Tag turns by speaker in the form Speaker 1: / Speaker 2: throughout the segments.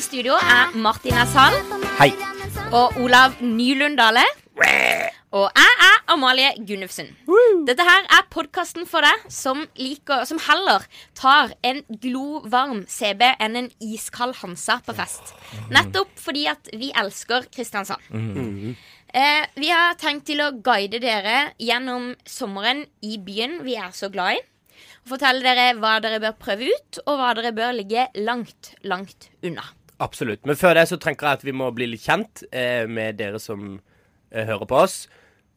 Speaker 1: studio er Martina Sand
Speaker 2: Hei.
Speaker 1: og Olav Nylund Dale. Og jeg er Amalie Gunnufsen. Dette her er podkasten for deg som, liker, som heller tar en glovarm CB enn en iskald Hansa på fest. Nettopp fordi at vi elsker Kristiansand. Eh, vi har tenkt til å guide dere gjennom sommeren i byen vi er så glad i. Og fortelle dere hva dere bør prøve ut, og hva dere bør ligge langt, langt unna.
Speaker 2: Absolutt. Men før det så tenker jeg at vi må bli litt kjent eh, med dere som eh, hører på oss.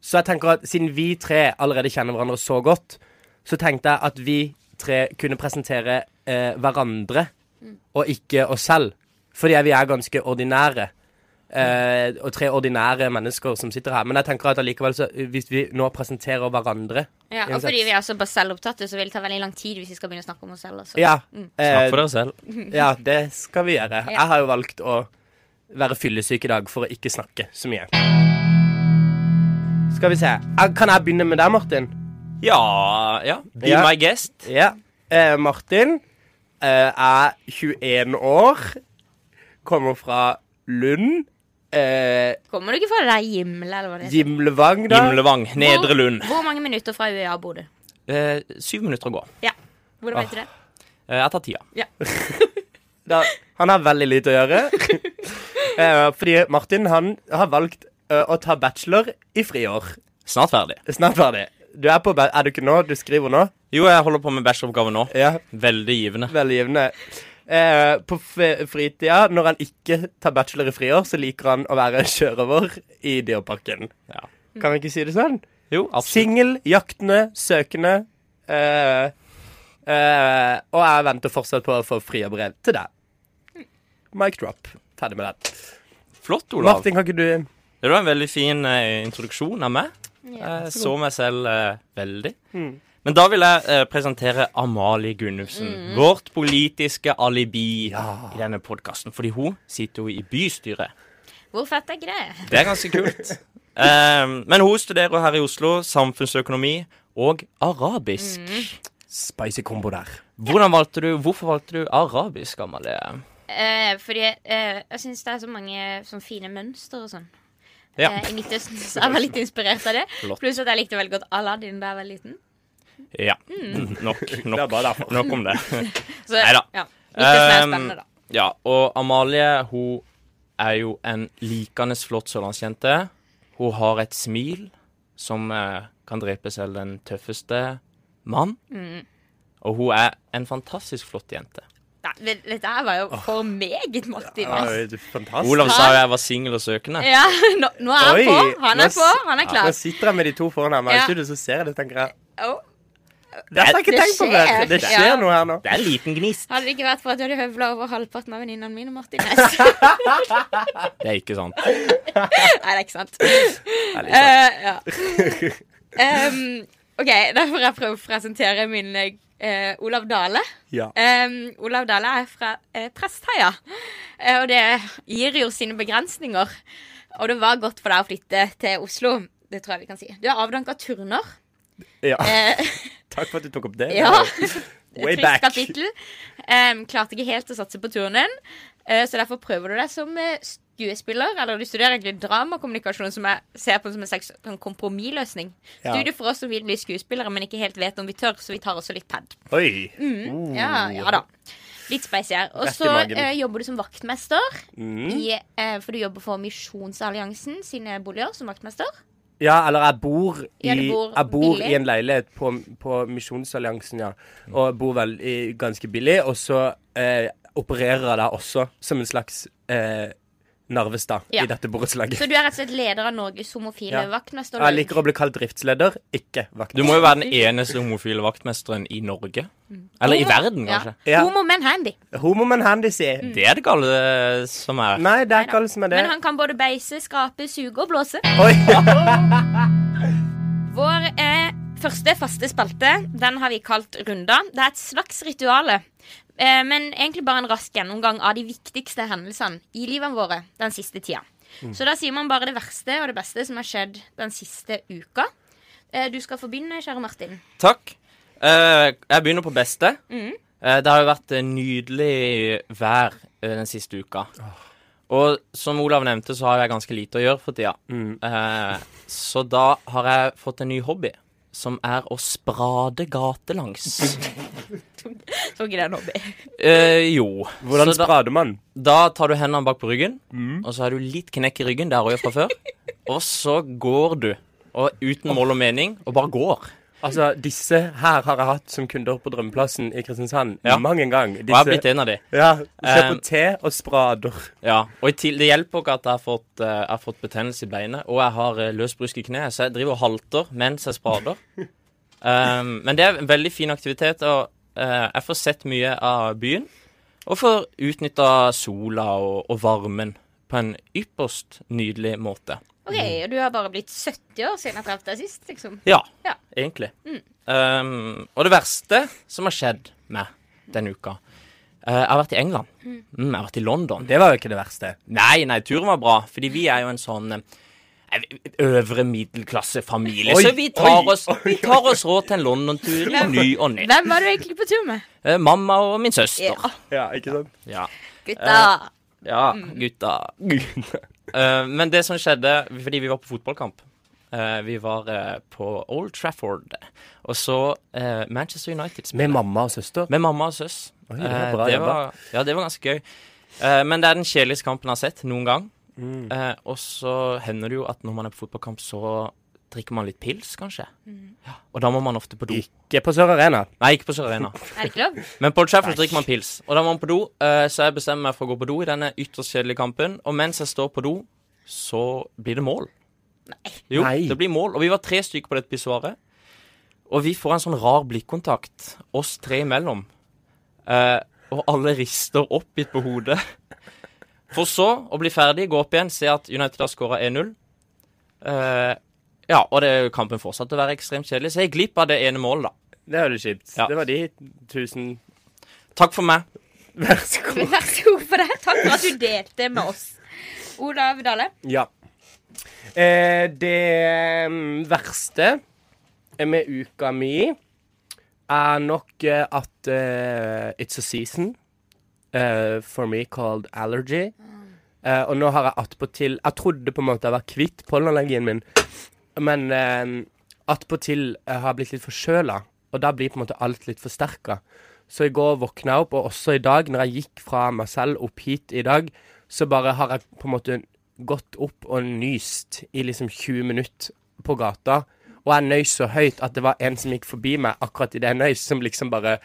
Speaker 2: Så jeg tenker at siden vi tre allerede kjenner hverandre så godt, så tenkte jeg at vi tre kunne presentere eh, hverandre
Speaker 1: Mm.
Speaker 2: og ikke oss selv. Fordi vi er ganske ordinære. Eh, og tre ordinære mennesker som sitter her. Men jeg tenker at allikevel, så, hvis vi nå presenterer hverandre
Speaker 1: Ja, og
Speaker 2: Uansett.
Speaker 1: fordi vi er så bare selvopptatte, så vil det ta veldig lang tid hvis vi skal begynne å snakke om oss selv. altså. Også.
Speaker 2: Ja, eh,
Speaker 3: Snakk for deg selv.
Speaker 2: ja, det skal vi gjøre. Jeg har jo valgt å være fyllesyk i dag for å ikke snakke så mye. Skal vi se. Jeg- Kan jeg begynne med deg, Martin?
Speaker 3: Ja, ja. Be
Speaker 2: Ja.
Speaker 3: my guest.
Speaker 2: Ja. Eh, Martin eh, er 21 år, kommer fra Lund. Eh,
Speaker 1: Kommer du ikke fra det der Gimle, eller hva det heter?
Speaker 2: Gimlevang, da.
Speaker 3: Gimlevang. Nedre Lund.
Speaker 1: Hvor, hvor mange minutter fra UEA bor du?
Speaker 3: Eh, syv minutter å gå.
Speaker 1: Ja. Hvordan
Speaker 3: Ah.
Speaker 1: vet du det?
Speaker 3: Eh, jeg tar tida.
Speaker 2: da. Han har veldig lite å gjøre. eh, fordi Martin han har valgt eh, å ta bachelor i friår.
Speaker 3: Snart ferdig.
Speaker 2: Snart ferdig. Du er, på, ba- er du ikke nå? Du skriver nå?
Speaker 3: Jo, jeg holder på med bacheloroppgave nå.
Speaker 2: Ja.
Speaker 3: Veldig givende.
Speaker 2: Veldig givende. Eh, på f- fritida, når han ikke tar bachelor i friår, så liker han å være sjørøver i Dyreparken.
Speaker 3: Ja.
Speaker 2: Kan vi ikke si det sånn?
Speaker 3: Jo, absolutt.
Speaker 2: Singel, jaktende, søkende. Eh, eh, og jeg venter fortsatt på å få frierbrev til deg. Mic drop. Ferdig med den.
Speaker 3: Flott, Olav.
Speaker 2: Martin, kan ikke du
Speaker 3: Det var en veldig fin eh, introduksjon av meg. jeg så meg selv eh, veldig. Men da vil jeg eh, presentere Amalie Gunnufsen. Vårt politiske alibi i denne podkasten. Fordi hun sitter jo i bystyret.
Speaker 1: Hvor fett er ikke det?
Speaker 3: Det er ganske kult. Eh, men hun studerer her i Oslo samfunnsøkonomi og arabisk.
Speaker 2: Spicy combo der.
Speaker 3: Hvordan valgte du, Hvorfor valgte du arabisk, Amalie?
Speaker 1: Eh, fordi eh, jeg syns det er så mange sånn fine mønster og sånn.
Speaker 3: Ja.
Speaker 1: Eh, I Midtøsten så jeg var litt inspirert av det.
Speaker 3: Flott.
Speaker 1: Pluss at jeg likte veldig godt Aladdin da jeg var liten.
Speaker 3: ja. Nok, nok, nok om det.
Speaker 1: Så,
Speaker 3: Neida.
Speaker 1: Ja, Midtøsten er
Speaker 3: Um,
Speaker 1: spennende, da.
Speaker 3: Ja, og Amalie hun er jo en likende flott sørlandsjente. Hun har et smil som eh, kan drepe selv den tøffeste mann. Og hun er en fantastisk flott jente.
Speaker 1: Nei, det- dette her var jo for meget, Martin.
Speaker 2: Ja,
Speaker 1: ass.
Speaker 2: det er fantastisk.
Speaker 3: Olav sa jo jeg var singel og søkende.
Speaker 1: Ja, nå, nå er han
Speaker 2: Oi,
Speaker 1: på. Han
Speaker 2: nå
Speaker 1: er
Speaker 2: s-
Speaker 1: på. Han er
Speaker 2: Nå
Speaker 1: klar.
Speaker 2: sitter jeg med de to foran her, men
Speaker 1: Ja.
Speaker 2: ikke du så ser jeg det, tenker jeg.
Speaker 1: Å,
Speaker 2: Dette har jeg ikke
Speaker 1: Det
Speaker 2: tenkt på
Speaker 1: skjer.
Speaker 2: før. Det skjer
Speaker 1: Ja.
Speaker 2: noe her nå.
Speaker 3: Det er en liten gnist.
Speaker 1: Hadde det ikke vært for at du hadde høvla over halvparten av venninnene mine, Martin Næss.
Speaker 3: Det er ikke sant.
Speaker 1: Nei, det er ikke sant. Eh, ja. Em, OK, da får jeg prøve å presentere min eh, Olav Dale.
Speaker 2: Ja.
Speaker 1: Em, Olav Dale er fra eh, Prestheia, Eh, og det gir jo sine begrensninger. Og det var godt for deg å flytte til Oslo. Det tror jeg vi kan si. Du er avdanka turner.
Speaker 2: Ja.
Speaker 1: Eh,
Speaker 2: Takk for at du tok opp det.
Speaker 1: Ja.
Speaker 2: Way
Speaker 1: Trist
Speaker 2: back.
Speaker 1: kapittel. Em, klarte ikke helt å satse på turnen, eh, så derfor prøver du deg som eh, skuespiller. Eller du studerer egentlig dramakommunikasjon, som jeg ser på som en slags sånn kompromissløsning.
Speaker 2: Ja.
Speaker 1: Studie for oss som vil bli skuespillere, men ikke helt vet om vi tør, så vi tar også litt pad.
Speaker 2: Oi.
Speaker 1: Ja, ja da. Litt spicy her. Og
Speaker 2: Mm. Rett i
Speaker 1: så
Speaker 2: magen.
Speaker 1: eh, jobber du som vaktmester,
Speaker 2: Mm.
Speaker 1: i, eh, for du jobber for Misjonsalliansen sine boliger som vaktmester.
Speaker 2: Ja, eller jeg bor i,
Speaker 1: Ja, du bor
Speaker 2: jeg bor
Speaker 1: billig.
Speaker 2: i en leilighet på, på Misjonsalliansen, ja. Og bor vel i, ganske billig. Og så eh, opererer jeg da også som en slags eh, Narvestad
Speaker 1: Ja.
Speaker 2: i dette borettslaget.
Speaker 1: Så du er rett og slett leder av Norges homofile
Speaker 2: Ja.
Speaker 1: vaktmesterlag.
Speaker 2: Jeg liker å bli kalt driftsleder, ikke vakt.
Speaker 3: Du må jo være den eneste homofile vaktmesteren i Norge. Eller i verden, kanskje.
Speaker 1: Eh, Mm. Ja.
Speaker 2: Ja.
Speaker 1: Homo men handy.
Speaker 2: Homo men handy, si.
Speaker 3: Det er det gale eh, som er.
Speaker 2: Nei, det er ikke alle som er det.
Speaker 1: Mm. Men han kan både beise, skrape, suge og blåse.
Speaker 2: Oi.
Speaker 1: Vår eh, første faste spalte den har vi kalt Runda. Det er et slags rituale. Eh, men egentlig bare en rask gjennomgang av de viktigste hendelsene i livene våre den siste tida.
Speaker 2: Mm.
Speaker 1: Så da sier man bare det verste og det beste som har skjedd den siste uka. Eh, du skal få begynne, kjære Martin.
Speaker 3: Takk.
Speaker 1: Mm.
Speaker 3: Eh, jeg begynner på beste. Eh, det har jo vært eh, nydelig vær eh, den siste uka. Og som Olav nevnte, så har jeg ganske lite å gjøre for tida.
Speaker 2: Mm.
Speaker 3: Eh, så da har jeg fått en ny hobby, som er å sprade gatelangs.
Speaker 1: Tror ikke det er en hobby.
Speaker 3: Eh, jo.
Speaker 2: Hvordan
Speaker 3: så da,
Speaker 2: sprader man?
Speaker 3: da tar du hendene bak på ryggen, og så har du litt knekk i ryggen, det har jeg gjort fra før. Og så går du, og uten mål og mening, og bare går.
Speaker 2: Altså, disse her har jeg hatt som kunder på Drømmeplassen i Kristiansand
Speaker 3: Ja.
Speaker 2: mang en gang.
Speaker 3: Og jeg har blitt en av de.
Speaker 2: ja, ser
Speaker 3: Eh,
Speaker 2: på te og sprader.
Speaker 3: Ja, og i til, Det hjelper ikke at jeg har fått, eh, jeg har fått betennelse i beinet, og jeg har eh, løs brusk i kneet, så jeg driver og halter mens jeg sprader. Um, men det er en veldig fin aktivitet, og eh, jeg får sett mye av byen. Og får utnytta sola og, og varmen på en ypperst nydelig måte.
Speaker 1: OK, og du har bare blitt 70 år siden jeg traff deg sist, liksom.
Speaker 3: Ja,
Speaker 1: Ja. Mm.
Speaker 3: egentlig. Um, og det verste som har skjedd meg denne uka eh, Jeg har vært i England. Mm, jeg har vært i London.
Speaker 2: Det var jo ikke det verste.
Speaker 3: Nei, nei, turen var bra, fordi vi er jo en sånn eh, øvre middelklassefamilie.
Speaker 2: Oi,
Speaker 3: Så vi tar,
Speaker 2: oi,
Speaker 3: oss, vi tar oss råd til en London-tur i ny og ne.
Speaker 1: Hvem var du egentlig på tur med?
Speaker 3: Eh, Mamma og min søster.
Speaker 1: Ja,
Speaker 2: Ja, ikke sant?
Speaker 3: Ja,
Speaker 1: gutta.
Speaker 3: ja
Speaker 1: Mm.
Speaker 3: gutta. Eh, Men det som skjedde, fordi vi var på fotballkamp eh, Vi var eh, på Old Trafford, og så eh, Manchester United spiller.
Speaker 2: Med mamma og søster.
Speaker 3: Med mamma og søs.
Speaker 2: Oi, det er
Speaker 3: Eh,
Speaker 2: bra
Speaker 3: det
Speaker 2: jobba.
Speaker 3: var, ja, det var ganske gøy. Eh, men det er den kjedeligste kampen jeg har sett noen gang.
Speaker 2: Mm.
Speaker 3: Eh, og så hender det jo at når man er på fotballkamp, så drikker man litt pils, kanskje. Ja, og da må man ofte på do.
Speaker 2: Ikke på Sør Arena.
Speaker 3: Nei, ikke på Sør Arena.
Speaker 1: Er det ikke lov?
Speaker 3: Men på Old Trafford drikker man pils, og da må man på do. eh, så jeg bestemmer meg for å gå på do i denne ytterst kjedelige kampen. Og mens jeg står på do, så blir det mål. Nei. Jo,
Speaker 2: Nei.
Speaker 3: det blir mål. Og vi var tre stykker på dette pissoaret. Og vi får en sånn rar blikkontakt, oss tre imellom. Eh, og alle rister oppgitt på hodet. For så å bli ferdig, gå opp igjen, se at United har skåra 1-0. Eh, ja, og det, kampen fortsatte å være ekstremt kjedelig, så jeg gikk glipp av det ene målet, da.
Speaker 2: Det var jo kjipt.
Speaker 3: Ja.
Speaker 2: Det var de tusen
Speaker 3: Takk for meg.
Speaker 2: Vær så god.
Speaker 1: Men vær så god for det. Takk for at du delte med oss. Olav Dale.
Speaker 2: Ja. Eh, det mm, verste med uka mi er nok eh, at eh, it's a season eh, for me called allergy. Eh, og nå har jeg attpåtil Jeg trodde på en måte jeg var kvitt pollenallergien min, men eh, attpåtil eh, har jeg blitt litt forkjøla, og da blir på en måte alt litt forsterka. Så i går våkna jeg opp, og også i dag, når jeg gikk fra meg selv opp hit i dag, så bare har jeg på en måte gått opp og nyst i liksom 20 minutter på gata. Og jeg nøys så høyt at det var en som gikk forbi meg akkurat idet jeg nøys, som liksom bare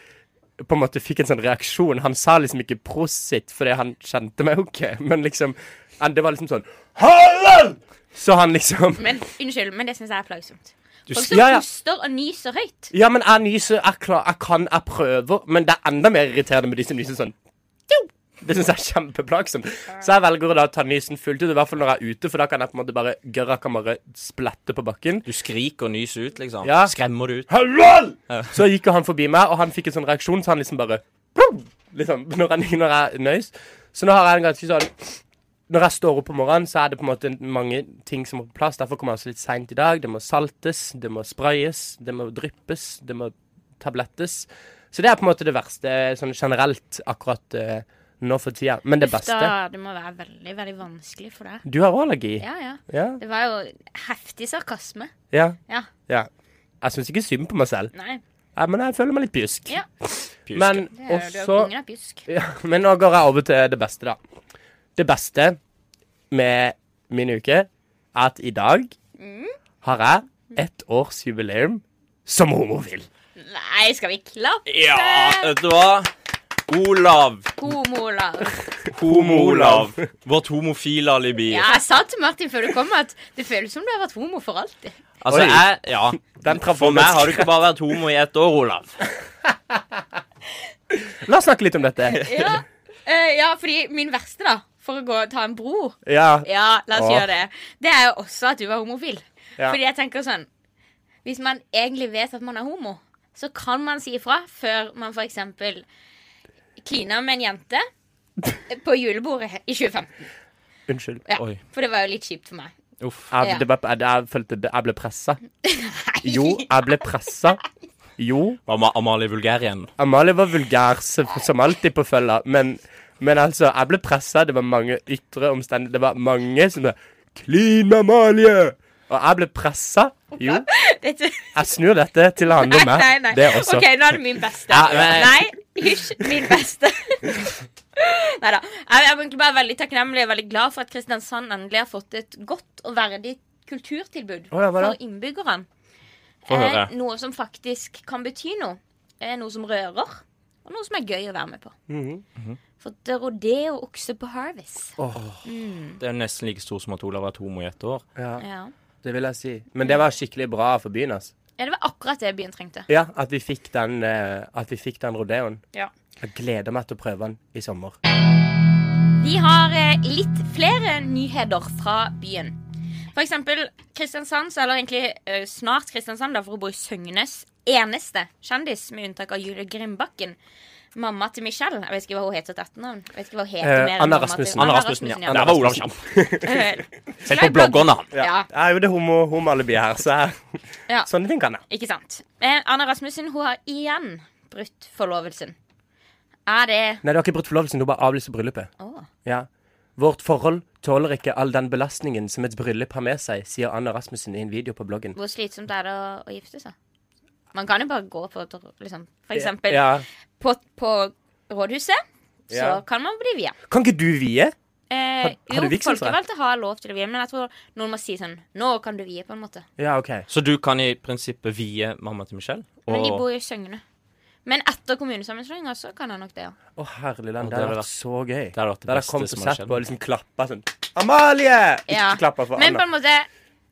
Speaker 2: på en måte fikk en sånn reaksjon. Han sa liksom ikke 'prosit' fordi han kjente meg jo ikke, men liksom han- Det var liksom sånn 'Hallen!' Så han liksom
Speaker 1: Men unnskyld, men det syns jeg er plagsomt. Folk
Speaker 2: s-
Speaker 1: som
Speaker 2: Ja, ja.
Speaker 1: puster og nyser høyt.
Speaker 2: Ja, men jeg nyser, jeg, klar, jeg kan, jeg prøver, men det er enda mer irriterende med de som nyser sånn. Tjo! Det syns jeg er kjempeplagsomt. Så jeg velger å da ta nysen fullt ut, i hvert fall når jeg er ute, for da kan jeg på en måte bare gørra kan bare splette på bakken.
Speaker 3: Du skriker og nyser ut, liksom.
Speaker 2: Ja.
Speaker 3: Skremmer du ut.
Speaker 2: Hallo! Så gikk jo han forbi meg, og han fikk en sånn reaksjon, så han liksom bare «Pum!» liksom, når, han, når jeg nøys. Så nå har jeg en ganske sånn Når jeg står opp om morgenen, så er det på en måte mange ting som må på plass. Derfor kommer jeg også litt seint i dag. Det må saltes, det må sprayes, det må dryppes, det må tablettes. Så det er på en måte det verste sånn generelt akkurat eh, nå for tida. Men det beste
Speaker 1: Da, det må være veldig, veldig vanskelig for deg.
Speaker 2: Du har òg allergi.
Speaker 1: Ja, ja.
Speaker 2: Ja.
Speaker 1: Det var jo heftig sarkasme.
Speaker 2: Ja.
Speaker 1: Ja.
Speaker 2: ja. Jeg syns ikke synd på meg selv,
Speaker 1: Nei.
Speaker 2: Ja, men jeg føler meg litt bjusk.
Speaker 1: Ja.
Speaker 3: Pjuske.
Speaker 2: Men
Speaker 1: Det er, du er
Speaker 2: også
Speaker 1: kongen av pjusk.
Speaker 2: Ja, men nå går jeg over til det beste, da. Det beste med min uke er at i dag har jeg ett års jubileum som homofil.
Speaker 1: Nei, skal vi klappe?
Speaker 3: Ja, vet du hva? Olav.
Speaker 2: Eh.
Speaker 1: Homo-Olav.
Speaker 3: Homo-Olav. Vårt homofile alibi.
Speaker 1: Ja, jeg sa til Martin før du kom at det føles som du har vært homo for alltid.
Speaker 3: Altså,
Speaker 2: Oi.
Speaker 3: jeg Ja.
Speaker 2: Den traff
Speaker 3: For
Speaker 2: meg.
Speaker 3: meg har du ikke bare vært homo i ett år, Olav.
Speaker 2: La oss snakke litt om dette.
Speaker 1: Ja, eh, ja fordi min verste, da, for å gå og ta en bro
Speaker 2: Ja,
Speaker 1: Ja, la oss
Speaker 2: Åh.
Speaker 1: gjøre det. Det er jo også at du var homofil.
Speaker 2: Ja.
Speaker 1: Fordi jeg tenker sånn Hvis man egentlig vet at man er homo, så kan man si ifra før man f.eks. kliner med en jente på julebordet he- i 2015.
Speaker 2: unnskyld.
Speaker 1: Ja,
Speaker 3: Oi.
Speaker 1: for det var jo litt kjipt for meg.
Speaker 3: Uff.
Speaker 2: Jeg,
Speaker 1: Ja.
Speaker 2: det var, jeg, jeg følte det- jeg ble pressa. Jo, jeg ble pressa. Jo,
Speaker 3: Var Ma Amalie vulgær igjen?
Speaker 2: Amalie var vulgær som som alltid på følga, men Men altså, jeg ble pressa. Det var mange ytre omstendigheter. Det var mange som sa 'Clean Amalie!' Og jeg ble pressa. Jo,
Speaker 1: Dette-
Speaker 2: jeg snur dette til å handle om
Speaker 1: Nei, nei,
Speaker 2: meg.
Speaker 1: nei.
Speaker 2: Det også.
Speaker 1: OK, nå er det min beste.
Speaker 3: Ja, men-
Speaker 1: Nei, hysj. Min beste. Nei da. Jeg jeg er egentlig bare veldig takknemlig og veldig glad for at Kristiansand endelig har fått et godt og verdig kulturtilbud
Speaker 2: Å ja, hva da?
Speaker 1: for innbyggerne.
Speaker 3: Få høre.
Speaker 1: Eh, noe som faktisk kan bety noe. Eh, noe som rører, og noe som er gøy å være med på.
Speaker 2: Mhm.
Speaker 1: For det er rodeo og okse på Harvest.
Speaker 2: Åh,
Speaker 3: Det er nesten like stor som at Olav har vært homo i ett år.
Speaker 2: ja,
Speaker 1: Ja.
Speaker 2: det vil jeg si. Men det var skikkelig bra for byen, altså.
Speaker 1: ja, det var akkurat det byen trengte.
Speaker 2: Ja, at vi fikk den, eh, at vi fikk den rodeoen.
Speaker 1: Ja.
Speaker 2: Jeg gleder meg til å prøve den i sommer.
Speaker 1: Vi har eh, litt flere nyheter fra byen. For eksempel Kristiansand, så- eller egentlig eh, snart Kristiansand, da, for å bo i Søgnes eneste kjendis, med unntak av Julie Grimbakken. Mamma til Michelle. Jeg vet ikke hva hun heter til etternavn. Jeg vet ikke hva hun heter
Speaker 2: Eh,
Speaker 1: mer enn
Speaker 2: Anna
Speaker 1: mamma til-
Speaker 2: Rasmussen.
Speaker 3: Anna Rasmussen, ja.
Speaker 1: Rasmussen,
Speaker 3: Der var Olav Kjapp.
Speaker 1: Eh,
Speaker 3: Se på bloggerne. han.
Speaker 1: ja. ja.
Speaker 2: Jeg er jo det homo- homoalibiet her, så jeg,
Speaker 1: Ja.
Speaker 2: sånne ting kan jeg.
Speaker 1: Ikke sant. Eh, Anna Rasmussen hun har igjen brutt forlovelsen. Er det
Speaker 2: Nei, du har ikke brutt forlovelsen, du har bare avlyst bryllupet.
Speaker 1: Å.
Speaker 2: Ja. Vårt forhold tåler ikke all den belastningen som et bryllup har med seg, sier Anna Rasmussen i en video på bloggen.
Speaker 1: Hvor slitsomt er det å, å gifte seg? Man kan jo bare gå på et- liksom, For eksempel
Speaker 2: Ja.
Speaker 1: på, på rådhuset. Så
Speaker 2: Ja.
Speaker 1: kan man bli via.
Speaker 2: Kan ikke du vie?
Speaker 1: Eh,
Speaker 2: Har- har du
Speaker 1: jo,
Speaker 2: vigselsrett?
Speaker 1: folkevalgte har lov til å vie, men jeg tror noen må si sånn Nå kan du vie, på en måte.
Speaker 2: Ja, OK.
Speaker 3: Så du kan i prinsippet vie mamma til Michelle?
Speaker 1: Men de
Speaker 3: Og-
Speaker 1: bor jo i Søgne. Men etter kommunesammenslåinga så kan han nok det, ja.
Speaker 2: Å, herlig land. Det
Speaker 3: det
Speaker 2: hadde
Speaker 3: hadde
Speaker 2: vært så gøy.
Speaker 3: det hadde vært det
Speaker 2: Da hadde
Speaker 3: beste
Speaker 2: jeg kommet
Speaker 3: som
Speaker 2: og
Speaker 3: hadde
Speaker 2: sett
Speaker 3: skjedd.
Speaker 2: på og liksom klappa sånn Amalie! Ikke
Speaker 1: ja.
Speaker 2: klappa for
Speaker 1: Men på
Speaker 2: Anna.
Speaker 1: en måte,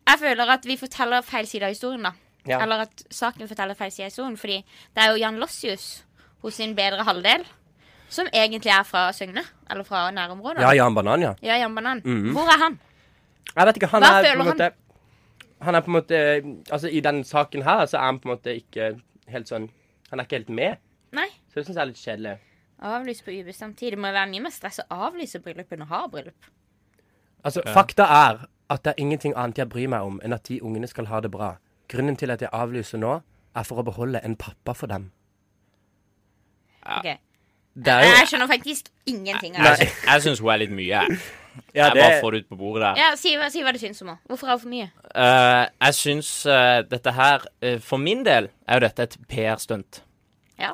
Speaker 1: jeg føler at vi forteller feil side av historien, da.
Speaker 2: Ja.
Speaker 1: Eller at saken forteller feil side av historien. Fordi det er jo Jan Lossius hos sin bedre halvdel, som egentlig er fra Søgne. Eller fra nærområdet.
Speaker 2: Ja, Mhm. Jan Banan, ja.
Speaker 1: Ja, Jan Banan. Hvor er han?
Speaker 2: Jeg vet ikke, han
Speaker 1: Hva
Speaker 2: er på
Speaker 1: føler
Speaker 2: en måte Han er på en måte Altså, i den saken her, så er han på en måte ikke helt sånn Han er ikke helt med.
Speaker 1: Nei.
Speaker 2: Så det syns jeg er litt kjedelig.
Speaker 1: Avlyst på ubestemt tid. Det må jo være mye mer stress å avlyse bryllup enn å ha bryllup.
Speaker 2: Altså, fakta er at det er ingenting annet jeg bryr meg om enn at de ungene skal ha det bra. Grunnen til at jeg avlyser nå, er for å beholde en pappa for dem.
Speaker 1: Ok.
Speaker 2: Det er
Speaker 1: Jeg skjønner faktisk ingenting av
Speaker 3: Jeg,
Speaker 1: det.
Speaker 3: sy- jeg syns hun er litt mye. jeg.
Speaker 2: ja,
Speaker 3: Jeg
Speaker 2: det,
Speaker 3: bare får det ut på bordet der.
Speaker 1: Ja, si, hva- si hva du syns om henne. Hvorfor er hun for mye?
Speaker 3: Eh, jeg syns eh, dette her eh, For min del er jo dette et PR-stunt.
Speaker 2: ja.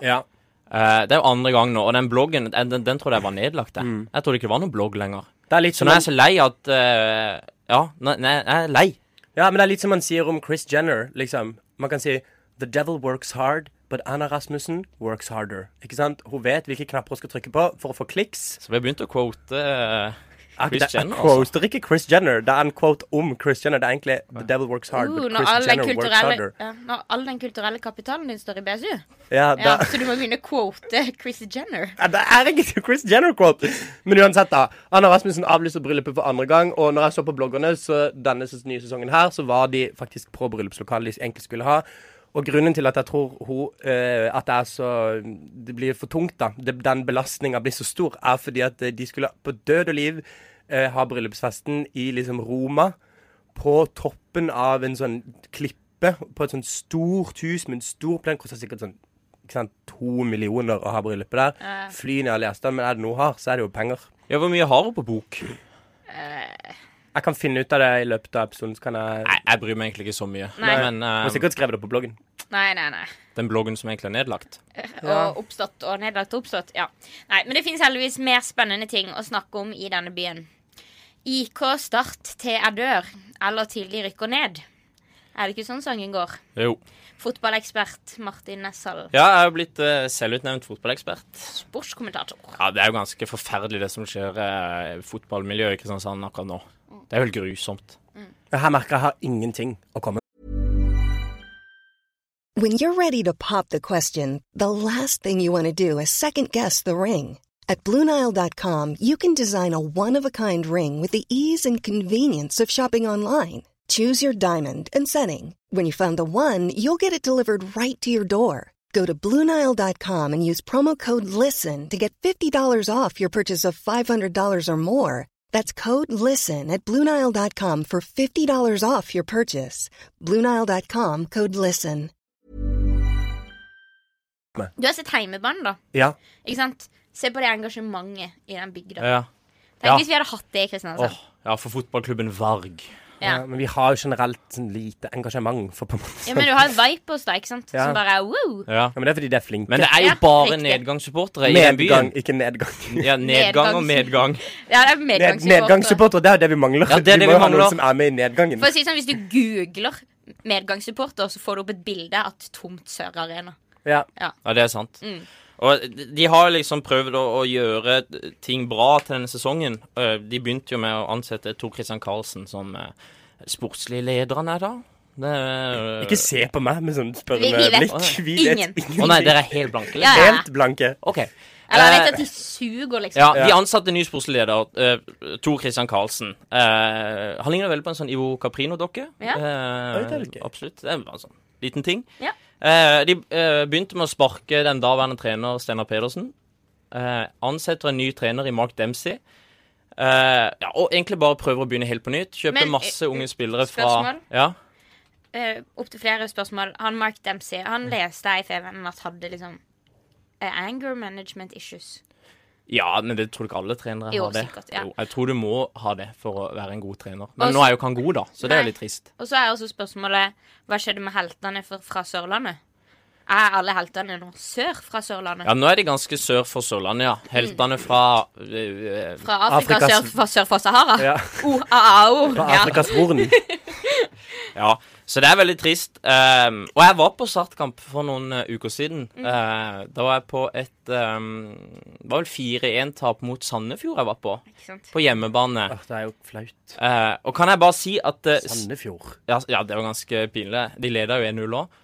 Speaker 3: Eh, det er jo andre gang nå, og den bloggen den, den, den trodde jeg var nedlagt. Jeg,
Speaker 2: Mm.
Speaker 3: jeg trodde ikke det var noen blogg lenger.
Speaker 2: Det er litt
Speaker 3: Så
Speaker 2: som
Speaker 3: nå er
Speaker 2: man,
Speaker 3: jeg så lei at eh, Ja, nei, nei, jeg er lei.
Speaker 2: ja, men det er litt som man sier om Chris Jenner, liksom. Man kan si The devil works hard, but Anna Rasmussen works harder. Ikke sant? Hun vet hvilke knapper hun skal trykke på for å få kliks.
Speaker 3: Så vi har begynt å quote eh, altså. Chris
Speaker 2: det,
Speaker 3: Jenner,
Speaker 2: Jeg quoter ikke Chris Jenner. Det er en quote om Chris Jenner. Det er egentlig The devil works hard,
Speaker 1: Uh,
Speaker 2: but
Speaker 1: når, all
Speaker 2: Chris
Speaker 1: den
Speaker 2: Jenner works harder.
Speaker 1: kulturelle, ja, når all den kulturelle kapitalen din står i BSU.
Speaker 2: Ja, det,
Speaker 1: Ja, så du må begynne å quote Chris Jenner.
Speaker 2: Ja, det er ikke Chris Jenner-quote. Men uansett, da. Anna Rasmussen avlyser bryllupet for andre gang. Og når jeg så på bloggerne, så denne ses- nye sesongen her, så var de faktisk på bryllupslokalet de egentlig skulle ha. Og grunnen til at jeg tror hun, eh, at det er så Det blir for tungt, da. Det, den belastninga blir så stor, er fordi at eh, de skulle på død og liv eh, ha bryllupsfesten i liksom Roma. På toppen av en sånn klippe, på et sånn stort hus med en stor plen, koster sikkert sånn ikke sant, to millioner å ha bryllupet der.
Speaker 1: Ja.
Speaker 2: Fly ned alle gjestene, men er det noe har, så er det jo penger.
Speaker 3: Ja, hvor mye har hun på bok?
Speaker 2: Jeg kan finne ut av det i løpet av episoden, så kan jeg
Speaker 3: Nei, jeg bryr meg egentlig ikke så mye.
Speaker 1: Nei.
Speaker 3: Men eh,
Speaker 2: Hun har sikkert skrevet det på bloggen.
Speaker 1: Nei, nei, nei.
Speaker 3: den bloggen som egentlig er nedlagt
Speaker 1: Og oppstått og nedlagt og oppstått. Ja. Nei, men det finnes heldigvis mer spennende ting å snakke om i denne byen. IK Start til jeg dør, eller til de rykker ned. Er det ikke sånn sangen går?
Speaker 3: Jo.
Speaker 1: Fotballekspert Martin Nessal,
Speaker 3: Ja, jeg er jo blitt eh, selvutnevnt fotballekspert.
Speaker 1: sportskommentator.
Speaker 3: Ja, Det er jo ganske forferdelig det som skjer eh, i fotballmiljøet i Kristiansand akkurat nå. Det er jo helt grusomt.
Speaker 2: Her merker jeg har ingenting å komme
Speaker 4: When you're ready to pop the question, the last thing you want to do is second guess the ring. At Bluenile.com, you can design a one of a kind ring with the ease and convenience of shopping online. Choose your diamond and setting. When you find the one, you'll get it delivered right to your door. Go to Bluenile.com and use promo code LISTEN to get $50 off your purchase of $500 or more. That's code LISTEN at Bluenile.com for $50 off your purchase. Bluenile.com code LISTEN.
Speaker 1: Du har sett Heimebanen, da.
Speaker 2: Ja.
Speaker 1: Ikke sant? Se på det engasjementet i den bygda.
Speaker 3: Ja.
Speaker 1: Tenk
Speaker 3: Ja.
Speaker 1: hvis vi hadde hatt det i Kristiansand.
Speaker 3: Åh, ja, for fotballklubben Varg.
Speaker 1: Ja.
Speaker 2: Ja, Eh, men vi har jo generelt sånn lite engasjement for på en måte.
Speaker 1: ja, Men du har Vipers, da, ikke sant?
Speaker 2: Ja.
Speaker 1: Som bare er wow.
Speaker 3: Ja.
Speaker 2: Ja, men det er fordi de er flinke.
Speaker 3: Men det er jo
Speaker 1: Ja,
Speaker 3: bare
Speaker 1: riktig.
Speaker 3: nedgangssupportere i den
Speaker 2: Medgang,
Speaker 3: byen.
Speaker 2: ikke nedgang.
Speaker 3: Ja, nedgang og
Speaker 1: Nedgangs-
Speaker 3: medgang.
Speaker 1: Ja, det er
Speaker 2: Ned,
Speaker 1: medgangssupporter.
Speaker 2: nedgangssupportere, det er det vi mangler.
Speaker 3: Ja, det er det
Speaker 2: vi må
Speaker 3: vi
Speaker 2: jo ha
Speaker 3: mangler.
Speaker 2: noen som er med i nedgangen.
Speaker 1: For å si det sånn, Hvis du googler medgangssupporter, så får du opp et bilde av et tomt Sør Arena.
Speaker 2: Ja.
Speaker 3: Ja, det er sant.
Speaker 1: Mm.
Speaker 3: Og de- de har liksom prøvd å, å gjøre ting bra til denne sesongen. Eh, De begynte jo med å ansette Tor Christian Karlsen som eh, sportslig leder han er da. Det, eh, er-
Speaker 2: Ikke se på meg med sånn
Speaker 1: Vi-
Speaker 2: spørrende
Speaker 1: vi vet
Speaker 2: blikk. Vi vet
Speaker 1: ingen.
Speaker 2: ingenting.
Speaker 3: Å nei, dere er helt blanke. eller?
Speaker 1: Ja, ja.
Speaker 2: Helt blanke.
Speaker 3: OK.
Speaker 1: Eller jeg
Speaker 3: Eh,
Speaker 1: vet at de suger, liksom.
Speaker 3: ja, de
Speaker 2: Ja.
Speaker 3: ansatte ny sportsleder, eh, Tor Christian Karlsen. Eh, han ligner veldig på en sånn Ivo Caprino-dokke.
Speaker 1: Ja.
Speaker 3: Eh,
Speaker 2: Oi, det er litt gøy.
Speaker 3: absolutt. Det er en sånn liten ting.
Speaker 1: Ja.
Speaker 3: Eh, de eh, begynte med å sparke den daværende trener Steinar Pedersen. Eh, ansetter en ny trener i Mark Dempsey. Eh, ja, og egentlig bare prøver å begynne helt på nytt. Kjøper
Speaker 1: Men, eh,
Speaker 3: masse unge spillere fra
Speaker 1: spørsmål?
Speaker 3: ja.
Speaker 1: Eh, opp til flere spørsmål. Han Mark Dempsey han leste jeg i FVN at hadde liksom eh, anger management issues.
Speaker 3: ja, men det tror du ikke alle trenere
Speaker 1: Jo,
Speaker 3: har det.
Speaker 1: sikkert, ja.
Speaker 3: Jo, jeg tror du må ha det for å være en god trener. Men
Speaker 1: Og
Speaker 3: nå
Speaker 1: så-
Speaker 3: er jo ikke han god, da, så det er
Speaker 1: Nei.
Speaker 3: jo litt trist.
Speaker 1: Og så er også spørsmålet hva skjedde med heltene fra, fra Sørlandet? Er alle heltene nå sør fra Sørlandet?
Speaker 3: Ja, nå er de ganske sør for Sørlandet, ja. Heltene fra øh, øh,
Speaker 1: Fra Afrika,
Speaker 2: Afrikas-
Speaker 1: sør, fra, sør for Sahara?
Speaker 2: Ja.
Speaker 1: O, a, a, o.
Speaker 2: Fra
Speaker 1: Ja.
Speaker 2: Afrikas Horn.
Speaker 3: Ja, så det er veldig trist. Ehm, og jeg var på startkamp for noen eh, uker siden. Eh, da var jeg på et ehm, Det var vel 4-1-tap mot Sandefjord jeg var på.
Speaker 1: Ikke sant?
Speaker 3: På hjemmebane.
Speaker 2: Åh, Det er jo flaut.
Speaker 3: Eh, og kan jeg bare si at eh, s-
Speaker 2: Sandefjord.
Speaker 3: ja, s- ja, det var ganske pinlig. De leda jo 1-0 òg,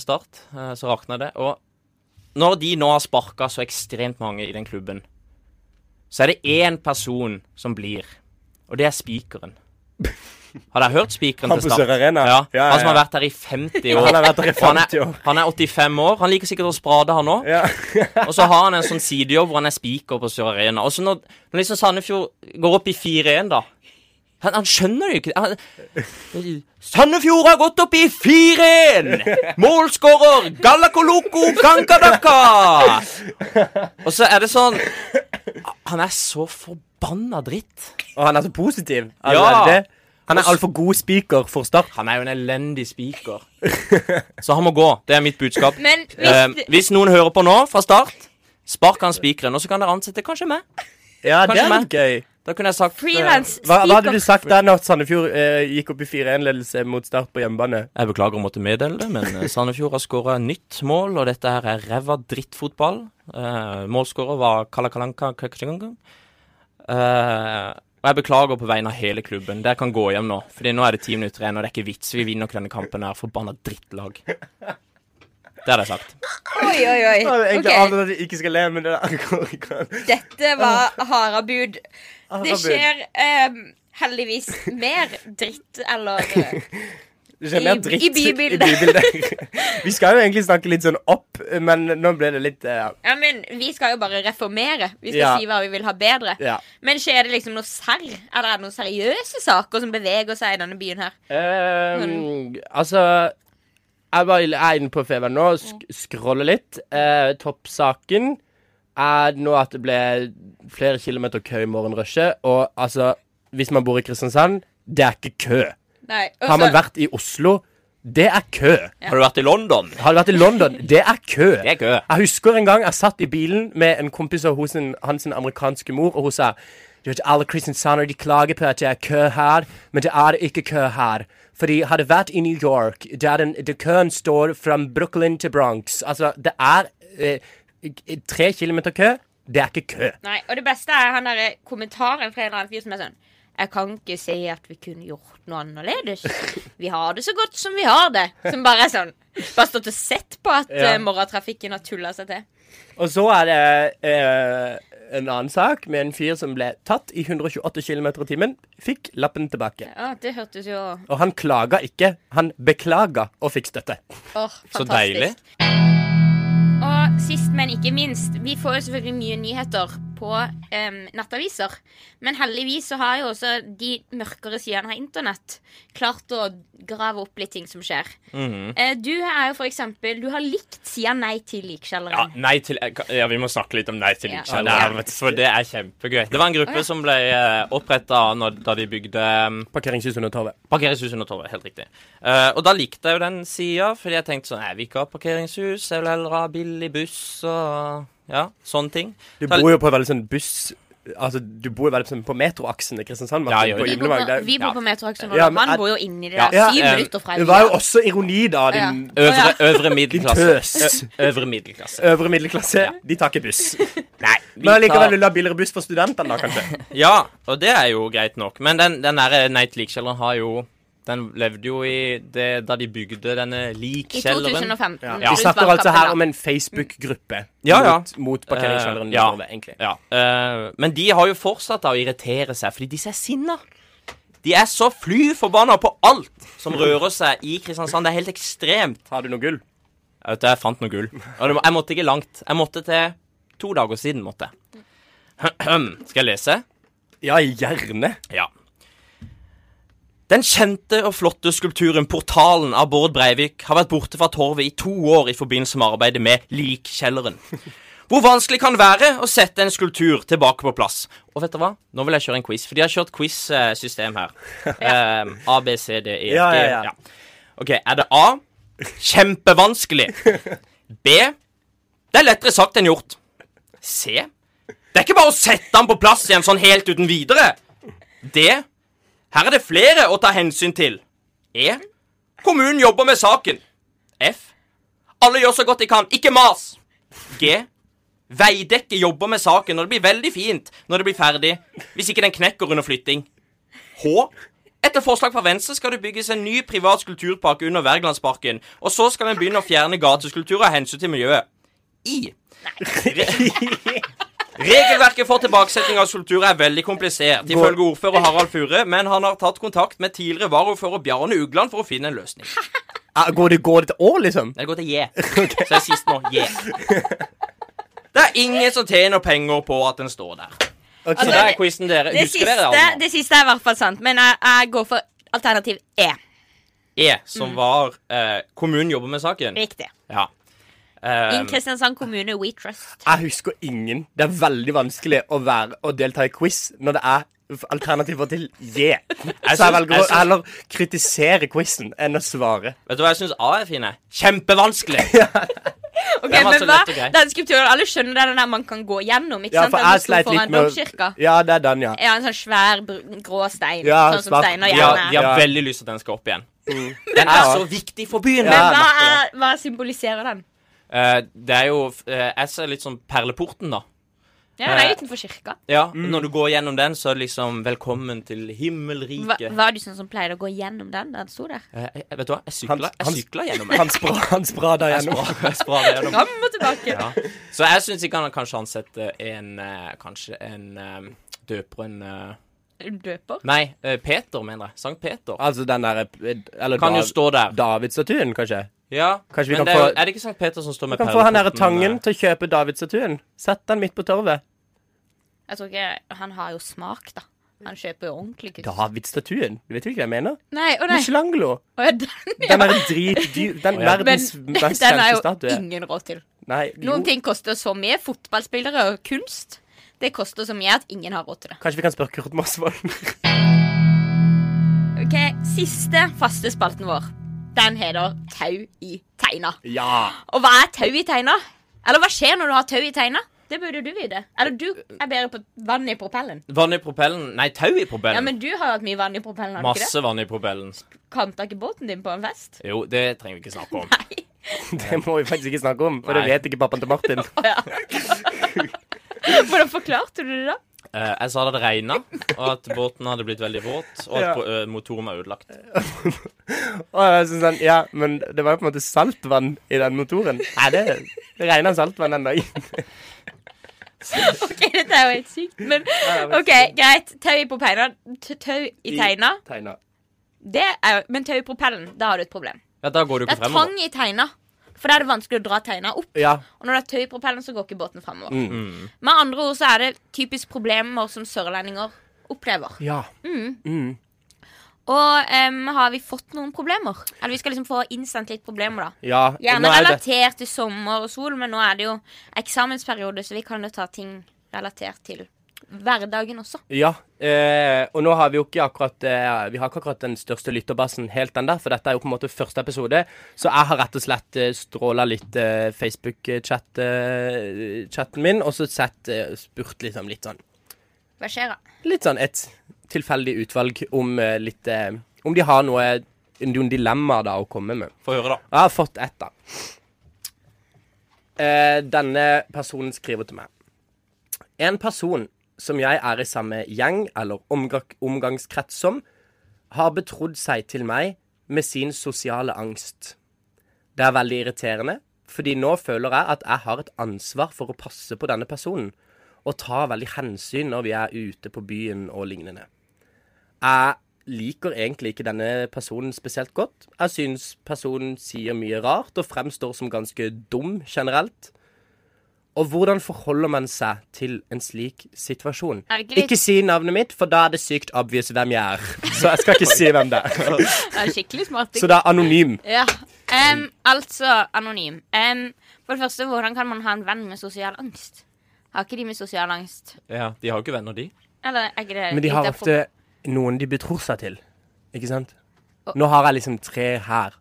Speaker 3: Start. eh, så rakna det. Og når de nå har sparka så ekstremt mange i den klubben, så er det én person som blir, og det er spikeren. Har dere hørt spikeren
Speaker 2: Han
Speaker 3: til
Speaker 2: på
Speaker 3: Start?
Speaker 2: Sør Arena.
Speaker 3: Ja,
Speaker 2: Ja, ja,
Speaker 3: Han som har
Speaker 2: ja.
Speaker 3: vært her i 50 år.
Speaker 2: Han har vært der i
Speaker 3: Og han er-
Speaker 2: 50 år.
Speaker 3: Han er 85 år. Han liker sikkert å sprade, han òg.
Speaker 2: Ja.
Speaker 3: Og så har han en sånn sidejobb hvor han er spiker på Sør Arena. Og så når, når liksom Sandefjord går opp i 4-1, da han, han skjønner det jo ikke. Han, Sandefjord har gått opp i 4-1! Målskårer Gallakoloko Kankadaka! Og så er det sånn Han er så forbanna dritt.
Speaker 2: Og han er så positiv.
Speaker 3: Ja.
Speaker 2: Allerede. Han er altfor god spiker for Start.
Speaker 3: Han er jo en elendig spiker. Så han må gå. Det er mitt budskap.
Speaker 1: Men
Speaker 3: Eh,
Speaker 1: hvis,
Speaker 3: hvis noen hører på nå, fra start, spark han spikeren, og så kan dere ansette kanskje meg.
Speaker 2: Ja, det
Speaker 3: Kanskje
Speaker 2: er litt gøy.
Speaker 3: Da kunne jeg sagt eh,
Speaker 1: Freelance
Speaker 2: Hva, hva hadde
Speaker 1: speaker.
Speaker 2: du sagt da når Sandefjord eh, gikk opp i 4-1-ledelse mot Start på hjemmebane?
Speaker 3: Jeg beklager å måtte meddele det, men eh, Sandefjord har skåra nytt mål, og dette her er ræva drittfotball. Uh, Målskårer var Kalakalanka Kakachangang. Eh, og jeg beklager på vegne av hele klubben. Dere kan gå hjem nå. Fordi nå er det ti minutter igjen, og det er ikke vits. Vi vinner ikke denne kampen her. Forbanna drittlag. Det hadde jeg sagt.
Speaker 1: Oi, oi, oi.
Speaker 2: Jeg hadde egentlig
Speaker 1: Ok.
Speaker 2: avtalt at jeg ikke skal le, men det der går ikke an.
Speaker 1: Dette var harabud. Det
Speaker 2: Harabud.
Speaker 1: skjer ehm, heldigvis mer dritt, eller eh,
Speaker 2: Det skjer mer
Speaker 1: I-
Speaker 2: dritt
Speaker 1: i bybildet.
Speaker 2: Vi skal jo egentlig snakke litt sånn opp, men nå ble det litt eh,
Speaker 1: Ja, men vi skal jo bare reformere. Vi skal
Speaker 2: Ja.
Speaker 1: si hva vi vil ha bedre.
Speaker 2: Ja.
Speaker 1: Men skjer det liksom noe serr? Eller er det noen seriøse saker som beveger seg i denne byen her?
Speaker 2: Ehm, altså Jeg var er inne på Feven nå, sk scroller litt. Eh, toppsaken er nå at det ble flere kilometer kø i morgenrushet. Og altså, hvis man bor i Kristiansand, det er ikke kø.
Speaker 1: Nei. og
Speaker 2: Har man
Speaker 1: så-
Speaker 2: vært i Oslo, det er kø.
Speaker 3: Har du vært i London?
Speaker 2: Har du vært i London, det er kø.
Speaker 3: Det er kø.
Speaker 2: Jeg husker en gang jeg satt i bilen med en kompis og hos en, hans en amerikanske mor, og hun sa du vet, alle kristiansandere de klager på at det er kø her, men det er ikke kø her. Fordi hadde vært i New York, der den, der køen står fra Brooklyn til Bronx Altså, det er eh, tre kilometer kø. Det er ikke kø.
Speaker 1: Nei, og det beste er han derre kommentaren fra en eller annen fyr som er sånn Jeg kan ikke si at vi kunne gjort noe annerledes. Vi har det så godt som vi har det. Som bare er sånn. Bare stått og sett på at
Speaker 2: Ja.
Speaker 1: eh, morgentrafikken har tulla seg til.
Speaker 2: Og så er det eh, en annen sak med en fyr som ble tatt i 128 km i timen. Fikk lappen tilbake.
Speaker 1: Ja, Det hørtes jo Åh,
Speaker 2: Og han klaga ikke. Han beklaga og fikk støtte.
Speaker 1: fantastisk.
Speaker 3: Så deilig.
Speaker 1: Og sist, men ikke minst, vi får jo selvfølgelig mye nyheter på em, nettaviser. Men heldigvis så har jo også de mørkere sidene av internett klart å grave opp litt ting som skjer.
Speaker 2: Mhm.
Speaker 1: Eh, du er jo for eksempel Du har likt sida Nei til
Speaker 3: Ja,
Speaker 1: likkjelleren.
Speaker 3: nei til eh, Ja, vi må snakke litt om Nei til
Speaker 1: Ja.
Speaker 3: likkjelleren.
Speaker 1: Ja, det er-
Speaker 3: vet du, for det er kjempegøy. Det var en gruppe som ble oppretta da de bygde um,
Speaker 2: Parkeringshus under torvet.
Speaker 3: Parkeringshus under torvet, helt riktig. Eh, og da likte jeg jo den sida, fordi jeg tenkte sånn Jeg vil ikke ha parkeringshus, jeg vil heller ha billig buss og ja, sånne ting.
Speaker 2: Du
Speaker 3: Så-
Speaker 2: bor jo på veldig sånn buss Altså, du bor jo veldig sånn på metroaksen i Kristiansand. Martin,
Speaker 3: Ja, jo,
Speaker 2: på
Speaker 3: jo.
Speaker 1: Vi bor
Speaker 2: Gimlevang.
Speaker 1: på,
Speaker 2: Det er-
Speaker 1: vi bor
Speaker 3: ja.
Speaker 1: på Metroaksjonen,
Speaker 2: Ja,
Speaker 1: og
Speaker 2: men
Speaker 1: han
Speaker 2: er-
Speaker 1: bor jo inni det
Speaker 3: Ja.
Speaker 1: der. Syv
Speaker 3: Ja, eh,
Speaker 1: minutter fra
Speaker 2: Det var jo
Speaker 1: livet.
Speaker 2: også ironi, da, din
Speaker 3: Øvre,
Speaker 1: Å,
Speaker 3: øvre middelklasse.
Speaker 2: Din tøs.
Speaker 3: Ø- Øvre middelklasse.
Speaker 2: øvre middelklasse. De tar ikke buss.
Speaker 3: Nei,
Speaker 2: Men allikevel vil du ha billigere buss for studentene, da, kanskje?
Speaker 3: Ja, og det er jo greit nok. Men den, den der Nate Likkjelleren har jo Den levde jo i det da de bygde denne
Speaker 1: I
Speaker 3: likkjelleren.
Speaker 1: 2015.
Speaker 2: Vi
Speaker 1: rundt
Speaker 2: snakker altså
Speaker 1: valgkampen,
Speaker 2: her
Speaker 1: da.
Speaker 2: om en Facebook-gruppe
Speaker 3: Ja, ja.
Speaker 2: mot, mot parkeringskjelleren.
Speaker 3: Eh, ja.
Speaker 2: Norge, egentlig.
Speaker 3: Ja. eh, men de har jo fortsatt da å irritere seg, fordi disse er sinna. De er så fly forbanna på alt som rører seg i Kristiansand. Det er helt ekstremt.
Speaker 2: Har du noe gull?
Speaker 3: Jeg, vet, jeg fant noe gull. Og det må- jeg måtte ikke langt. Jeg måtte til to dager siden. måtte jeg. Skal jeg lese?
Speaker 2: Ja, gjerne.
Speaker 3: Ja. Den kjente og flotte skulpturen Portalen av Bård Breivik har vært borte fra torvet i to år i forbindelse med arbeidet med Likkjelleren. Hvor vanskelig kan det være å sette en skulptur tilbake på plass? Og vet du hva? Nå vil jeg kjøre en quiz, for de har kjørt quiz-system her. Eh, A, B, C, D, E, F, G.
Speaker 2: Ja, ja, ja.
Speaker 3: OK, er det A kjempevanskelig? B det er lettere sagt enn gjort. C det er ikke bare å sette den på plass igjen sånn helt uten videre. D. Her er det flere å ta hensyn til. E. Kommunen jobber med saken. F. Alle gjør så godt de kan. Ikke mas. G. Veidekke jobber med saken, og det blir veldig fint når det blir ferdig. Hvis ikke den knekker under flytting. H. Etter forslag fra Venstre skal det bygges en ny privat skulpturpark under Wergelandsparken, og så skal en begynne å fjerne gateskulpturer av hensyn til miljøet. I. Regelverket for tilbakesetting av skulpturer er veldig komplisert, ifølge ordfører Harald Fure, men han har tatt kontakt med tidligere varaordfører Bjarne Ugland for å finne en løsning.
Speaker 2: Ah, Går det, går det til år, liksom?
Speaker 3: Nei, Det går til J. Så jeg er sist nå. J. Det er ingen som tjener penger på at den står der.
Speaker 2: Ok.
Speaker 3: Så
Speaker 1: Altså,
Speaker 3: der er quizen dere.
Speaker 1: Det
Speaker 3: Husker dere
Speaker 1: siste,
Speaker 3: det?
Speaker 1: det siste er i hvert fall sant, men jeg, jeg går for alternativ E.
Speaker 3: E, som var eh, kommunen jobber med saken.
Speaker 1: Mm. Riktig.
Speaker 3: Ja.
Speaker 1: I
Speaker 3: Eh,
Speaker 2: Um,
Speaker 1: Kristiansand kommune, We Trust.
Speaker 2: Jeg husker ingen. Det er veldig vanskelig å, være, å delta i quiz når det er f- alternativer til J. Så jeg
Speaker 3: syns-
Speaker 2: velger
Speaker 3: jeg
Speaker 2: å
Speaker 3: syns-
Speaker 2: heller kritisere quizen enn å svare.
Speaker 3: vet du hva jeg syns A er fin? jeg? Kjempevanskelig.
Speaker 1: Ok,
Speaker 3: Den var
Speaker 1: men
Speaker 3: så
Speaker 1: hva?
Speaker 3: lett og grei.
Speaker 1: Den skulpturen, Alle skjønner det, den der man kan gå gjennom? ikke
Speaker 2: Ja,
Speaker 1: sant?
Speaker 2: for
Speaker 1: Den
Speaker 2: jeg
Speaker 1: sto
Speaker 2: sleit
Speaker 1: foran
Speaker 2: litt med
Speaker 1: domkirka.
Speaker 2: å Ja, det er den, ja.
Speaker 1: Ja, en sånn svær, br- grå stein.
Speaker 2: Ja,
Speaker 1: sånn som
Speaker 2: svart.
Speaker 1: steiner
Speaker 3: De har,
Speaker 1: gjerne. er.
Speaker 3: de har
Speaker 2: Ja. Mm.
Speaker 3: veldig lyst til at den skal opp igjen. Den er så viktig for byen.
Speaker 1: Men
Speaker 2: Ja.
Speaker 1: hva,
Speaker 2: nettopp.
Speaker 1: er, hva symboliserer den?
Speaker 3: Eh, det er jo eh, Jeg ser litt sånn Perleporten, da.
Speaker 1: Ja, Den er
Speaker 3: Eh,
Speaker 1: utenfor kirka.
Speaker 3: Ja,
Speaker 2: Mm.
Speaker 3: Når du går gjennom den, så er det liksom Velkommen til
Speaker 1: Hva,
Speaker 3: himmelriket.
Speaker 1: var du sånn som pleide å gå gjennom den da den sto der?
Speaker 3: Eh, jeg- vet du hva? Jeg
Speaker 2: Han-
Speaker 3: sykla, jeg
Speaker 2: han-
Speaker 3: sykla gjennom den.
Speaker 2: Han, spra, han sprada
Speaker 3: Jeg
Speaker 2: gjennom.
Speaker 3: spra- jeg sprada gjennom.
Speaker 1: Fram og tilbake.
Speaker 3: Ja. Så jeg syns ikke han kanskje ansetter en eh, Kanskje en eh, døper en eh,
Speaker 1: Døper.
Speaker 3: Nei, eh, Peter, mener jeg. Sankt Peter.
Speaker 2: Altså den derre Eller
Speaker 3: Kan jo
Speaker 2: Dav,
Speaker 3: stå der.
Speaker 2: Davidsstatuen, kanskje?
Speaker 3: Ja,
Speaker 2: Kanskje vi
Speaker 3: men
Speaker 2: kan
Speaker 3: det er, jo-
Speaker 2: få-
Speaker 3: er det ikke Sankt Peter som står med
Speaker 2: Du kan få han derre
Speaker 3: perleporten,
Speaker 2: Tangen
Speaker 3: eh?
Speaker 2: til å kjøpe Davidsstatuen. Sett den midt på torvet.
Speaker 1: Jeg tror ikke Han har jo smak, da. Han kjøper jo ordentlig kunst.
Speaker 2: Davidsstatuen? Du vet jo ikke hva jeg mener?
Speaker 1: Nei, å nei.
Speaker 2: Michelangelo.
Speaker 1: Å, ja, den, ja.
Speaker 2: Den er dritdyr. Den
Speaker 3: ja.
Speaker 2: verdens
Speaker 1: Men
Speaker 2: mest
Speaker 1: den er
Speaker 2: kjente
Speaker 1: jo
Speaker 2: statue.
Speaker 1: ingen råd til.
Speaker 2: Nei, jo.
Speaker 1: Noen ting koster så mye. Fotballspillere og kunst. Det koster så mye at ingen har råd til det.
Speaker 2: Kanskje vi kan spørre Kurt Mosvold?
Speaker 1: Ok, Siste faste spalten vår. Den heter Tau i teina.
Speaker 2: ja.
Speaker 1: Og hva er tau i teina? Eller hva skjer når du har tau i teina? Det burde du vite. Eller du er bedre på vann i propellen.
Speaker 3: Vann i propellen? Nei, tau i propellen.
Speaker 1: Ja, men du har jo hatt mye vann i propellen. har du ikke
Speaker 3: Masse vann i propellen.
Speaker 1: det? Kanta ikke båten din på en fest?
Speaker 3: Jo, det trenger vi ikke snakke om.
Speaker 1: Nei.
Speaker 2: Det må vi faktisk ikke snakke om, for det
Speaker 3: Nei.
Speaker 2: vet ikke pappaen til Martin.
Speaker 1: Å, ja. Hvordan forklarte du det, da?
Speaker 3: Eh, jeg sa det hadde regna, og at båten hadde blitt veldig våt, og at
Speaker 2: Ja.
Speaker 3: pro- eh, motoren var ødelagt.
Speaker 2: Og jeg synes sånn, ja, Men det var jo på en måte saltvann i den motoren. Nei, det, det regna saltvann den dagen.
Speaker 1: Ok, Dette er jo helt sykt. Men
Speaker 2: det er
Speaker 1: OK, greit. Tau i propellen. T- Tau i teina.
Speaker 2: Tegna.
Speaker 1: Det er jo Men tau i propellen, da har du et problem.
Speaker 3: Ja, da går du
Speaker 1: Det
Speaker 3: ikke
Speaker 1: er
Speaker 3: fremover.
Speaker 1: tvang i teina. For da er det vanskelig å dra teina opp.
Speaker 2: Ja.
Speaker 1: Og når det er tøy i propellen, så går ikke båten framover.
Speaker 2: Mm.
Speaker 1: Med andre ord så er det typisk problemer som sørlendinger opplever.
Speaker 2: ja.
Speaker 1: Og em, har vi fått noen problemer? Eller vi skal liksom få innsendt litt problemer, da.
Speaker 2: ja.
Speaker 1: Gjerne
Speaker 2: Nå er det
Speaker 1: relatert til sommer og sol, men nå er det jo eksamensperiode, så vi kan jo ta ting relatert til hverdagen også.
Speaker 2: Ja, eh, og nå har vi jo ikke akkurat eh, Vi har ikke akkurat den største lytterbassen helt ennå, for dette er jo på en måte første episode. Så jeg har rett og slett eh, stråla litt eh, Facebook-chatten eh, chatten min, og så sett eh, spurt liksom litt sånn
Speaker 1: Hva skjer da?
Speaker 2: Litt sånn et tilfeldig utvalg om eh, litt eh, Om de har noe noen dilemmaer da å komme med.
Speaker 3: Få høre, da.
Speaker 2: Jeg har fått ett, da. Eh, denne personen skriver til meg. En person som jeg er i samme gjeng eller omga omgangskrets som, har betrodd seg til meg med sin sosiale angst. Det er veldig irriterende, fordi nå føler jeg at jeg har et ansvar for å passe på denne personen, og ta veldig hensyn når vi er ute på byen og lignende. Jeg liker egentlig ikke denne personen spesielt godt. Jeg syns personen sier mye rart og fremstår som ganske dum generelt. Og hvordan forholder man seg til en slik situasjon?
Speaker 1: Er det ikke litt-
Speaker 2: Ikke si navnet mitt, for da er det sykt obvious hvem jeg er. Så jeg skal ikke si hvem det er.
Speaker 1: Det er skikkelig smart.
Speaker 2: Så det er anonym.
Speaker 1: Ja. Em, altså anonym. Em, for det første, hvordan kan man ha en venn med sosial angst? Har ikke de med sosial angst?
Speaker 3: Ja, de har jo ikke venner, de.
Speaker 1: Eller er ikke det
Speaker 2: Men de har
Speaker 1: litt av
Speaker 2: ofte noen de betror seg til. Ikke sant? Nå har jeg liksom tre her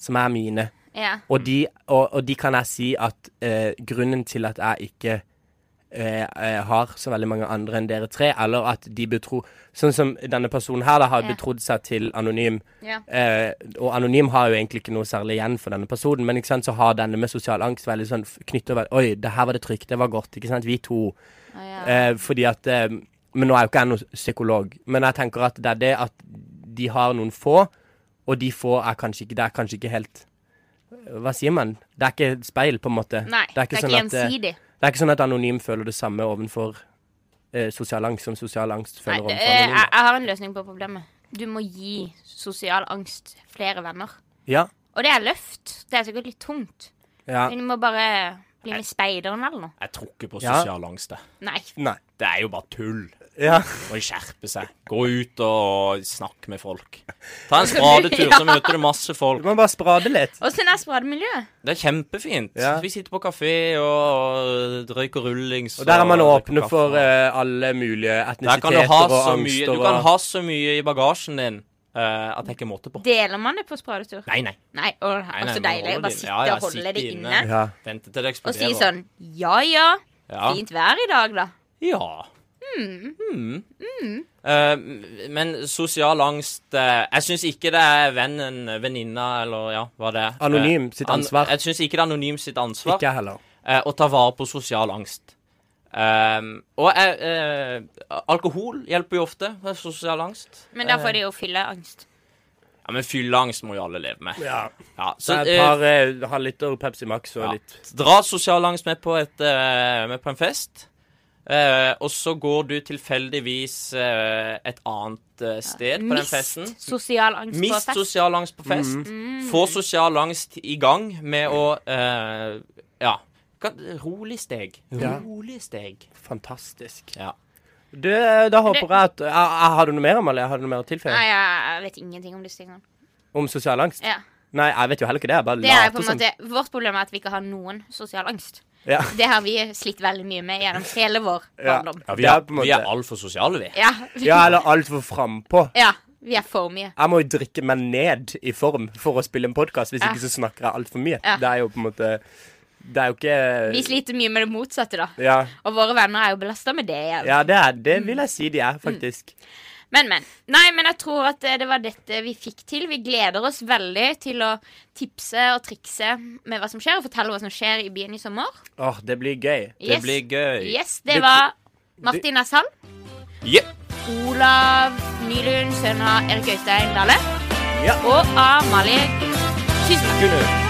Speaker 2: som er mine,
Speaker 1: pro- ja.
Speaker 2: og de, og, og de kan jeg si at eh, grunnen til at jeg ikke eh, eh, har så veldig mange andre enn dere tre, eller at de betror Sånn som denne personen her, da, har
Speaker 1: Ja.
Speaker 2: betrodd seg til Anonym.
Speaker 1: Ja.
Speaker 2: Eh, og Anonym har jo egentlig ikke noe særlig igjen for denne personen, men ikke sant, så har denne med sosial angst veldig sånn f- knyttet over Oi, det her var det trygt, det var godt, ikke sant? Vi
Speaker 1: Å,
Speaker 2: to.
Speaker 1: ja.
Speaker 2: Eh, fordi at eh, Men nå er jo ikke jeg noen psykolog, men jeg tenker at det er det at de har noen få, og de få er kanskje ikke Det er kanskje ikke helt Hva sier man? Det er ikke et speil, på en måte.
Speaker 1: Nei, det er ikke,
Speaker 2: sånn at, eh,
Speaker 1: gjensidig.
Speaker 2: det er ikke sånn at anonym føler det samme ovenfor eh, sosial angst som sosial angst
Speaker 1: Nei,
Speaker 2: føler
Speaker 1: eh,
Speaker 2: overfor
Speaker 1: jeg,
Speaker 2: anonym.
Speaker 1: jeg har en løsning på problemet. Du må gi sosial angst flere venner.
Speaker 2: Ja,
Speaker 1: Og det er løft. Det er sikkert litt tungt.
Speaker 2: ja.
Speaker 1: Men du må bare bli med speideren eller noe.
Speaker 3: Jeg tror ikke på
Speaker 2: Ja.
Speaker 3: sosial angst. det.
Speaker 1: Nei.
Speaker 2: Nei.
Speaker 3: Det er jo bare tull.
Speaker 2: Ja.
Speaker 3: Må de skjerpe seg. Gå ut og snakk med folk. Ta en spradetur, så møter du masse
Speaker 2: Du
Speaker 3: folk.
Speaker 2: må bare sprade litt.
Speaker 1: Åssen er sprademiljøet?
Speaker 3: Det er kjempefint.
Speaker 2: Ja.
Speaker 3: Vi sitter på kafé og øh, røyker rullings.
Speaker 2: Og der er man
Speaker 3: drikker
Speaker 2: åpne
Speaker 3: kaffe.
Speaker 2: for eh, alle mulige
Speaker 3: Der kan du
Speaker 2: etnisiteter
Speaker 3: ha
Speaker 2: og
Speaker 3: så mye,
Speaker 2: angster
Speaker 3: du kan
Speaker 2: og
Speaker 3: ha så mye i bagasjen din eh, at jeg ikke er måte på.
Speaker 1: Deler man det på spradetur?
Speaker 3: Nei, nei.
Speaker 1: Nei, å,
Speaker 3: nei,
Speaker 1: og så
Speaker 3: man
Speaker 1: deilig
Speaker 3: holder
Speaker 1: å bare
Speaker 3: det-
Speaker 1: sitte
Speaker 3: ja, ja,
Speaker 1: og holde
Speaker 3: sitte
Speaker 1: det
Speaker 3: inne.
Speaker 1: inne.
Speaker 2: ja.
Speaker 3: Vente til det
Speaker 1: Og
Speaker 3: eksploderer.
Speaker 1: si sånn Ja ja,
Speaker 3: Ja.
Speaker 1: fint Hmm. vær i dag, da.
Speaker 3: Ja. Mm.
Speaker 1: Hmm.
Speaker 3: Eh, men sosial angst eh, Jeg syns ikke det er vennen, venninna eller ja, hva det er. Eh,
Speaker 2: Anonym sitt ansvar.
Speaker 3: An jeg syns ikke det er anonym sitt ansvar
Speaker 2: Ikke jeg heller.
Speaker 3: eh, å ta vare på sosial angst. Ehm, og eh, eh, alkohol hjelper jo ofte med sosial angst.
Speaker 1: Men da får de
Speaker 3: Eh.
Speaker 1: jo fylleangst.
Speaker 3: Ja, Men fylleangst må jo alle leve med.
Speaker 2: Ja.
Speaker 3: Ja,
Speaker 2: Så
Speaker 3: så,
Speaker 2: et
Speaker 3: eh,
Speaker 2: par eh, halvliter Pepsi Max og
Speaker 3: Ja.
Speaker 2: litt
Speaker 3: Dra sosial angst med på, et, eh, med på en fest, eh, og så går du tilfeldigvis eh, et annet eh, sted på den festen.
Speaker 1: Mist sosial angst på
Speaker 3: Mist
Speaker 1: fest. Mm.
Speaker 3: sosial angst på fest.
Speaker 2: Mm.
Speaker 3: Få sosial angst i gang med å eh, Ja. Kan, rolig steg.
Speaker 2: Ja.
Speaker 3: Rolig steg.
Speaker 2: Fantastisk.
Speaker 3: Ja.
Speaker 2: Du, eh, da håper jeg at jeg, jeg Har du noe mer, Amalie? Har du noe mer å tilføye?
Speaker 1: Nei, jeg vet ingenting om disse tingene.
Speaker 2: Om sosial angst?
Speaker 1: Ja.
Speaker 2: Nei, jeg vet jo heller ikke det. Jeg bare
Speaker 1: Det er på
Speaker 2: later
Speaker 1: en
Speaker 2: som.
Speaker 1: måte, vårt problem er at vi ikke har noen sosial angst.
Speaker 2: Ja.
Speaker 1: Det har vi slitt veldig mye med gjennom hele vår
Speaker 2: Ja.
Speaker 1: barndom.
Speaker 3: Ja,
Speaker 2: vi er på en
Speaker 3: vi er
Speaker 2: måte-
Speaker 3: altfor sosiale, vi.
Speaker 1: Ja.
Speaker 2: ja, eller altfor frampå.
Speaker 1: ja. Vi er for mye.
Speaker 2: Jeg må jo drikke meg ned i form for å spille en podkast, hvis
Speaker 1: Ja.
Speaker 2: ikke så snakker jeg altfor mye.
Speaker 1: Ja.
Speaker 2: Det er jo på en måte Det er jo ikke
Speaker 1: Vi sliter mye med det motsatte, da.
Speaker 2: Ja,
Speaker 1: Og våre venner er jo belasta med det. igjen.
Speaker 2: ja det, er, det vil jeg si de
Speaker 1: Mm.
Speaker 2: er, faktisk.
Speaker 1: Men, men. Nei, men jeg tror at eh, det var dette vi fikk til. Vi gleder oss veldig til å tipse og trikse med hva som skjer, og fortelle hva som skjer i byen i sommer.
Speaker 2: Åh, det blir gøy.
Speaker 3: Det blir gøy.
Speaker 1: Yes, det
Speaker 2: Det-
Speaker 1: var Martin Nesshall,
Speaker 3: Yeah.
Speaker 1: Olav Nylund, sønn av Erik Øystein Dale
Speaker 2: Ja.
Speaker 1: og Amalie Kysberg.
Speaker 2: Kunne-